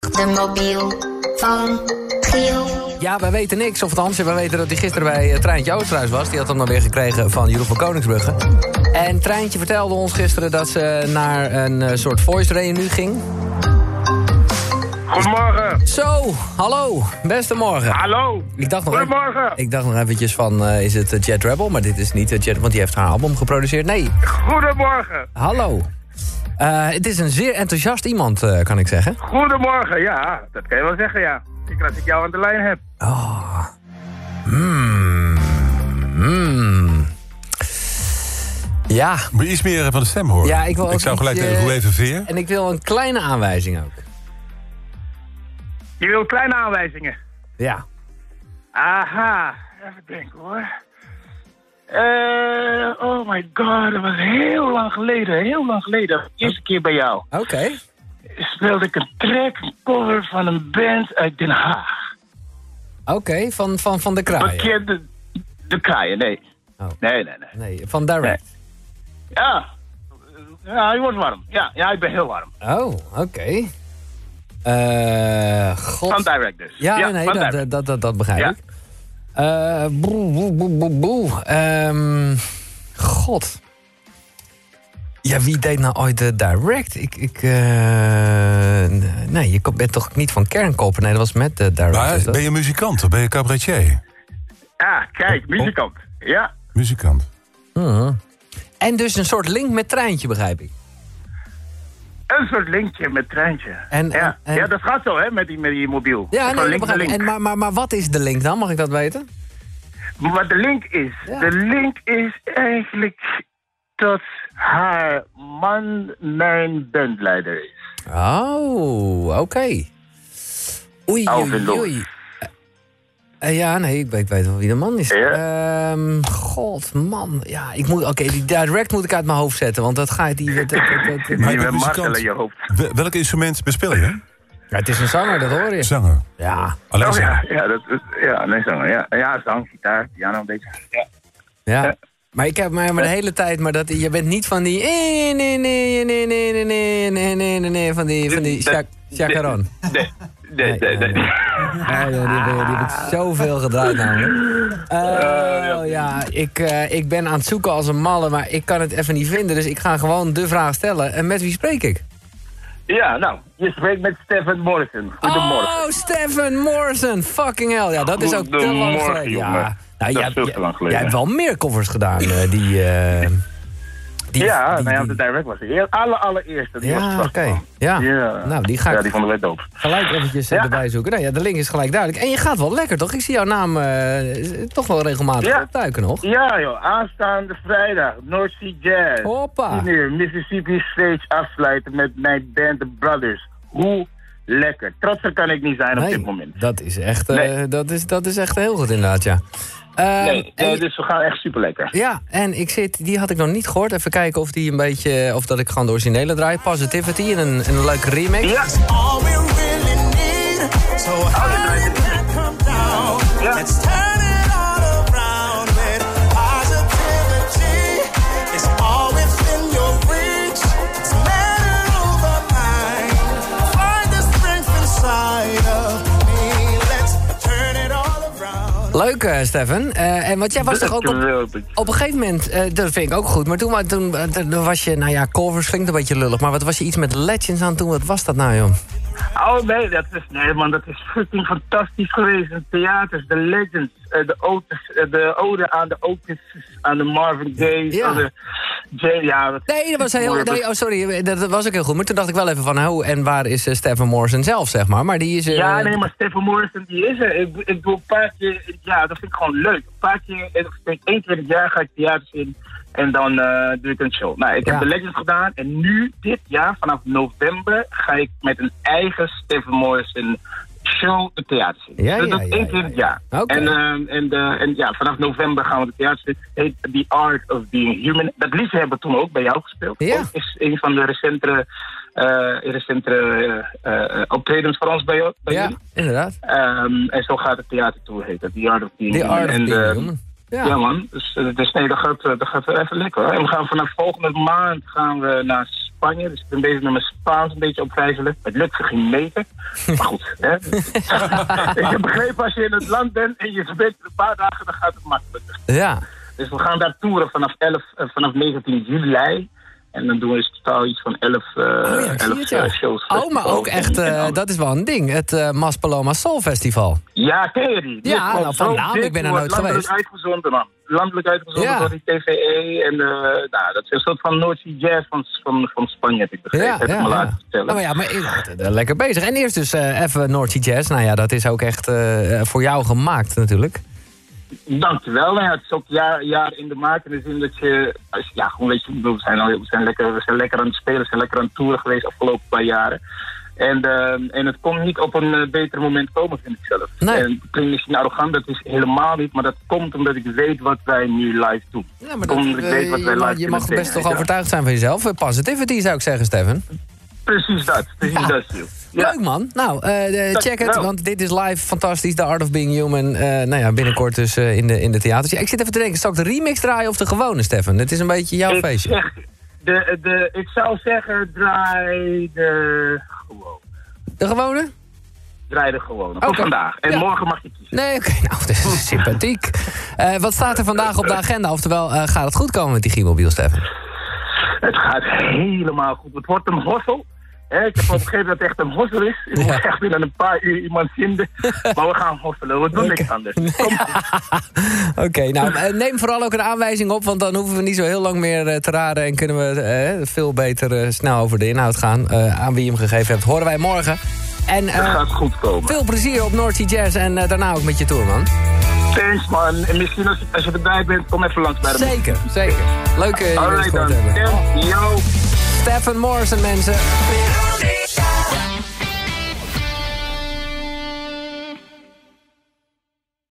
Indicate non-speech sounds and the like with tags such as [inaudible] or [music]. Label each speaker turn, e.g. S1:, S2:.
S1: De mobiel van Giel.
S2: Ja, wij weten niks. Of althans, we weten dat hij gisteren bij eh, Treintje Oosterhuis was. Die had hem dan weer gekregen van Jeroen van Koningsbrugge. En Treintje vertelde ons gisteren dat ze naar een eh, soort voice reunie ging.
S3: Goedemorgen.
S2: Zo, hallo, beste morgen.
S3: Hallo.
S2: Ik dacht nog even-
S3: Goedemorgen.
S2: ik dacht nog eventjes van, eh, is het eh, Jet Rebel? Maar dit is niet eh, Jet, want die heeft haar album geproduceerd. Nee,
S3: Goedemorgen.
S2: hallo. Eh, het is een zeer enthousiast iemand, eh, kan ik zeggen.
S3: Goedemorgen. Ja, dat kan je wel zeggen, ja. Zeker als ik jou aan de lijn heb.
S2: Hmm. Ja,
S4: Moet je iets meer eh, van de stem horen?
S2: Ja, ik wil ook
S4: zou gelijk
S2: iets,
S4: denken,
S2: eh,
S4: hoe even veer?
S2: en ik wil een kleine aanwijzing ook.
S3: Je wil kleine aanwijzingen.
S2: Ja.
S3: Aha. Even denken hoor. Eh, oh my god, dat was heel lang geleden. Heel lang geleden. De eerste keer bij jou
S2: Oké.
S3: speelde ik een track, een cover van een band uit Den Haag.
S2: Oké, van, van, van de kraaien.
S3: Bekende... De Kraaien, nee.
S2: Ah, Oh.
S3: Nee, nee, nee.
S2: Nee, van Direct.
S3: Ja. Ja, je wordt warm. Ja, ja, ik ben heel warm.
S2: Oh, oké. Eh, god.
S3: Van Direct dus.
S2: Ja, nee,
S3: van
S2: dat, dat,
S3: Direct.
S2: dat, dat, dat begrijp
S3: Ja.
S2: ik. Eh, boe, boe, boe, boe, boe. Ehm, god. Ja, wie deed nou ooit de Direct? Ik, ik, eh, nee, je ko- bent toch niet van Kernkoper? Nee, dat was met de Direct.
S4: Maar
S2: is dat?
S4: Nou ben je muzikant of ben je cabaretier?
S3: Ja, Ah, kijk,
S2: Oh,
S3: muzikant. Ja.
S4: Muzikant.
S2: En dus een soort link met Treintje, begrijp ik.
S3: Een soort linkje met treintje.
S2: En-
S3: ja.
S2: en- en-
S3: ja, dat gaat zo, hè, met die, met die mobiel.
S2: Ja,
S3: Zo'n
S2: nee, dat
S3: link,
S2: begrijp ik.
S3: link.
S2: En, maar, maar, maar wat is de link dan? Mag ik dat weten?
S3: Wat de link is,
S2: Ja.
S3: de link is eigenlijk dat haar man mijn bandleider is.
S2: Oh, oké. Oei, oei,
S3: Alvin Lord.
S2: oei. Eh, ja, nee, ik weet, ik weet wel wie de man is. Ehm, god, man. Ja, ik moet... Oké, die direct moet ik uit mijn hoofd zetten, want dat gaat... Die, dat, dat, dat- dat-
S3: [laughs] Je
S4: Maar je
S3: bent
S4: bent
S3: martel in
S4: muzikant.
S3: je hoofd.
S4: Wel- Welk instrument bespeel je?
S2: Ja, het is een zanger, dat hoor je.
S4: Zanger.
S2: Ja,
S4: Alleen
S3: Oh
S4: zanger.
S3: ja, ja, dat is, ja, nee, zang, ja. Ja, zang, gitaar, piano, een beetje. Ja.
S2: ja. Maar ik heb maar, maar de hele tijd... Maar dat, je bent niet van die... eh, Nee, nee, nee, nee, nee, nee, nee, nee, nee, nee, nee, van die, van die Sha- Chacaron.
S3: Nee,
S2: [laughs]
S3: nee, nee, nee.
S2: Ja, joh, die, heb, die heb ik zoveel gedraaid namelijk. Oh ja, ik, eh, ik ben aan het zoeken als een malle, maar ik kan het even niet vinden. Dus ik ga gewoon de vraag stellen. En met wie spreek ik?
S3: [laughs] Ja, nou, je spreekt met Stefan Morrison. Goedemorgen.
S2: Oh, Stefan Morrison. Fucking hell. Ja, dat is ook te lang
S3: Goedemorgen,
S2: geleden.
S3: jongen.
S2: Ja. Nou,
S3: Dat
S2: jij,
S3: is veel te lang
S2: jij,
S3: geleden.
S2: jij hebt wel meer covers gedaan, eh, die, eh, die...
S3: ja,
S2: die-
S3: nou ja, de
S2: die-
S3: direct was de eer- aller, allereerste. Die was
S2: ja, oké.
S3: vast van.
S2: Ja.
S3: Ja.
S2: nou die ga
S3: Ja,
S2: ik
S3: die vonden wij doop.
S2: gelijk eventjes eh,
S3: Ja.
S2: erbij zoeken. Nou ja, de link is gelijk duidelijk. En je gaat wel lekker, toch? Ik zie jouw naam eh, toch wel regelmatig
S3: Ja.
S2: opduiken nog.
S3: Ja joh, aanstaande vrijdag, North Sea Jazz.
S2: Hoppa.
S3: Senior Mississippi Stage afsluiten met mijn band The Brothers. Hoe lekker. Trotser kan ik niet zijn op
S2: Nee,
S3: dit moment.
S2: Dat is echt, eh,
S3: Nee.
S2: dat is, dat is echt heel goed inderdaad, ja. Eh,
S3: Nee,
S2: en-
S3: nee, dus we gaan echt super lekker.
S2: Ja, en ik zit, die had ik nog niet gehoord. Even kijken of die een beetje, of dat ik gewoon de originele draai. Positivity in een, in een leuke remake.
S3: Ja,
S5: all we really need. So how did that come down?
S3: Yeah.
S5: Let's turn it all around with positivity. It's all within your reach. It's matter over mind. Find the strength inside of me. Let's turn it all around.
S2: Leuk, eh, Stefan. Eh, en want jij was toch ook op,
S3: Dankjewel, Piet.
S2: op een gegeven moment, eh, dat vind ik ook goed. Maar toen, wa- toen, eh, toen was je, nou ja, covers klinkt een beetje lullig. Maar wat was je iets met Legends aan toen? Wat was dat nou, joh?
S3: Oh nee, dat is, nee man, dat is fucking fantastisch geweest. De theaters, de legends, eh, de, Otis, eh, de ode aan de Otis, aan de Marvin Gaye,
S2: Ja.
S3: aan de... Jay- Ja, dat
S2: Nee, dat was heel. Nee, oh, sorry, dat dat was ook heel goed. Maar toen dacht ik wel even van, hoe en waar is eh, Stefan Morrison zelf, zeg maar? Maar die is. eh,
S3: Ja, nee, maar Stefan Morrison, die is er. Ik, ik doe een paar keer, ja, dat vind ik gewoon leuk. Een paar keer, eh, ik denk één keer per jaar ga ik theaters in en dan eh, doe ik een show. Nou, ik
S2: Ja.
S3: heb de Legends gedaan en nu, dit jaar, vanaf november, ga ik met een eigen Stefan Morrison show de theaters in.
S2: Ja,
S3: Dus
S2: ja,
S3: dat is
S2: ja,
S3: één keer
S2: ja,
S3: per
S2: ja.
S3: jaar.
S2: Oké.
S3: En, eh, en, eh, en ja, vanaf november gaan we de theaters in. Heet The Art of Being Human. Dat liedje hebben we toen ook bij jou gespeeld.
S2: Ja.
S3: Ook is een van de recentere, eh recentere eh, eh, optredens voor ons bij jou. bij
S2: ja
S3: jullie.
S2: inderdaad.
S3: Ehm, en zo gaat het theatertour heten. The Art of Being
S2: The
S3: Human.
S2: Art of
S3: en,
S2: Being
S3: eh,
S2: Human. Ja.
S3: Ja, man. Dus, eh, dus nee, dat gaat, eh, dat gaat wel even lekker. hoor. En we gaan vanaf volgende maand gaan we naar Spanje. Dus ik ben bezig met mijn Spaans een beetje opvijzelen. Het lukt er geen meter. Maar goed,
S2: [laughs]
S3: hè. [laughs] ik heb begrepen als je in het land bent en je verbetert een paar dagen, dan gaat het makkelijker.
S2: Ja.
S3: Dus we gaan daar toeren vanaf, 11, eh, vanaf 19 juli. En dan doen we dus totaal iets van 11, eh
S2: Oh, ja, ik zie
S3: 11
S2: het, ja.
S3: eh, shows.
S2: Oh, maar ook
S3: En-
S2: echt,
S3: en
S2: eh,
S3: dan-
S2: dat is wel een ding. Het eh Mas Paloma Soul Festival.
S3: Ja, ken je die? Die
S2: Ja,
S3: is gewoon
S2: nou, van
S3: zo
S2: naam, ik
S3: dik,
S2: ben er
S3: wordt
S2: nooit
S3: landelijk
S2: geweest.
S3: Uitgezonden, man. Landelijk uitgezonden
S2: Ja.
S3: door die TVE. En eh, nou, dat is een soort van Noordzee Jazz van, van, van Spanje, heb ik begrepen.
S2: Ja,
S3: heb ik
S2: ja,
S3: me
S2: ja.
S3: laten vertellen.
S2: Nou ja, maar eh, lekker bezig. En eerst dus eh, even Norty Jazz. Nou ja, dat is ook echt eh, voor jou gemaakt natuurlijk.
S3: Dankjewel. Nou ja, het is ook jaar, jaar in de maak. In de zin dat je... als- Ja, gewoon weet je, ik bedoel, we, zijn al, we, zijn lekker, we zijn lekker aan het spelen. We zijn lekker aan het toeren geweest de afgelopen paar jaren. En, ehm, en het kon niet op een eh, beter moment komen, vind ik zelf.
S2: Nee.
S3: En het klinkt misschien arrogant, dat is helemaal niet. Maar dat komt omdat ik weet wat wij nu live doen.
S2: Ja, maar eh,
S3: Omdat ik weet wat wij live
S2: je
S3: kunnen
S2: mag best
S3: brengen,
S2: toch
S3: ja.
S2: overtuigd zijn van jezelf. Eh, Positivity zou ik zeggen, Steven.
S3: Precies dat. Precies dat, Giel. Ja.
S2: Leuk man. Nou, eh, eh, check het,
S3: Dankjewel.
S2: want dit is live fantastisch. The Art of Being Human. Eh, nou ja, binnenkort dus eh, in, de, in de theaters. Ja, ik zit even te denken, zal ik de remix draaien of de gewone, Steven? Het is een beetje jouw
S3: Ik,
S2: feestje.
S3: zeg, de, de, ik zou zeggen, draai de gewoon.
S2: De gewone?
S3: Draai de gewoon.
S2: Oké.
S3: Voor vandaag. En
S2: Ja.
S3: morgen mag je kiezen.
S2: Nee, oké. [laughs] Nou, dit is sympathiek. Eh, wat staat er vandaag op de agenda? Oftewel, eh, gaat het goed komen met die G-mobiel, Steven?
S3: Het gaat helemaal goed. Het wordt een hossel. Hè, ik heb al begrepen dat het echt een hossel is. Ik moet echt binnen een paar uur iemand vinden. Maar we gaan hosselen. We doen niks anders. Kom.
S2: [laughs] Oké, nou eh, neem vooral ook een aanwijzing op, want dan hoeven we niet zo heel lang meer eh, te raden en kunnen we eh, veel beter eh, snel over de inhoud gaan. Eh, aan wie je hem gegeven hebt, horen wij morgen. En eh,
S3: Het gaat goed komen.
S2: veel plezier op North Sea Jazz en eh, daarna ook met je tour, man.
S3: Thanks man. En misschien als je, als je erbij bent, kom even langs bij de
S2: Zeker, zeker. Leuk eh, je weer eens
S3: Alright
S2: gehoord
S3: dan.
S2: te hebben.
S3: Yo.
S2: Stefan Morrison, mensen.
S5: Been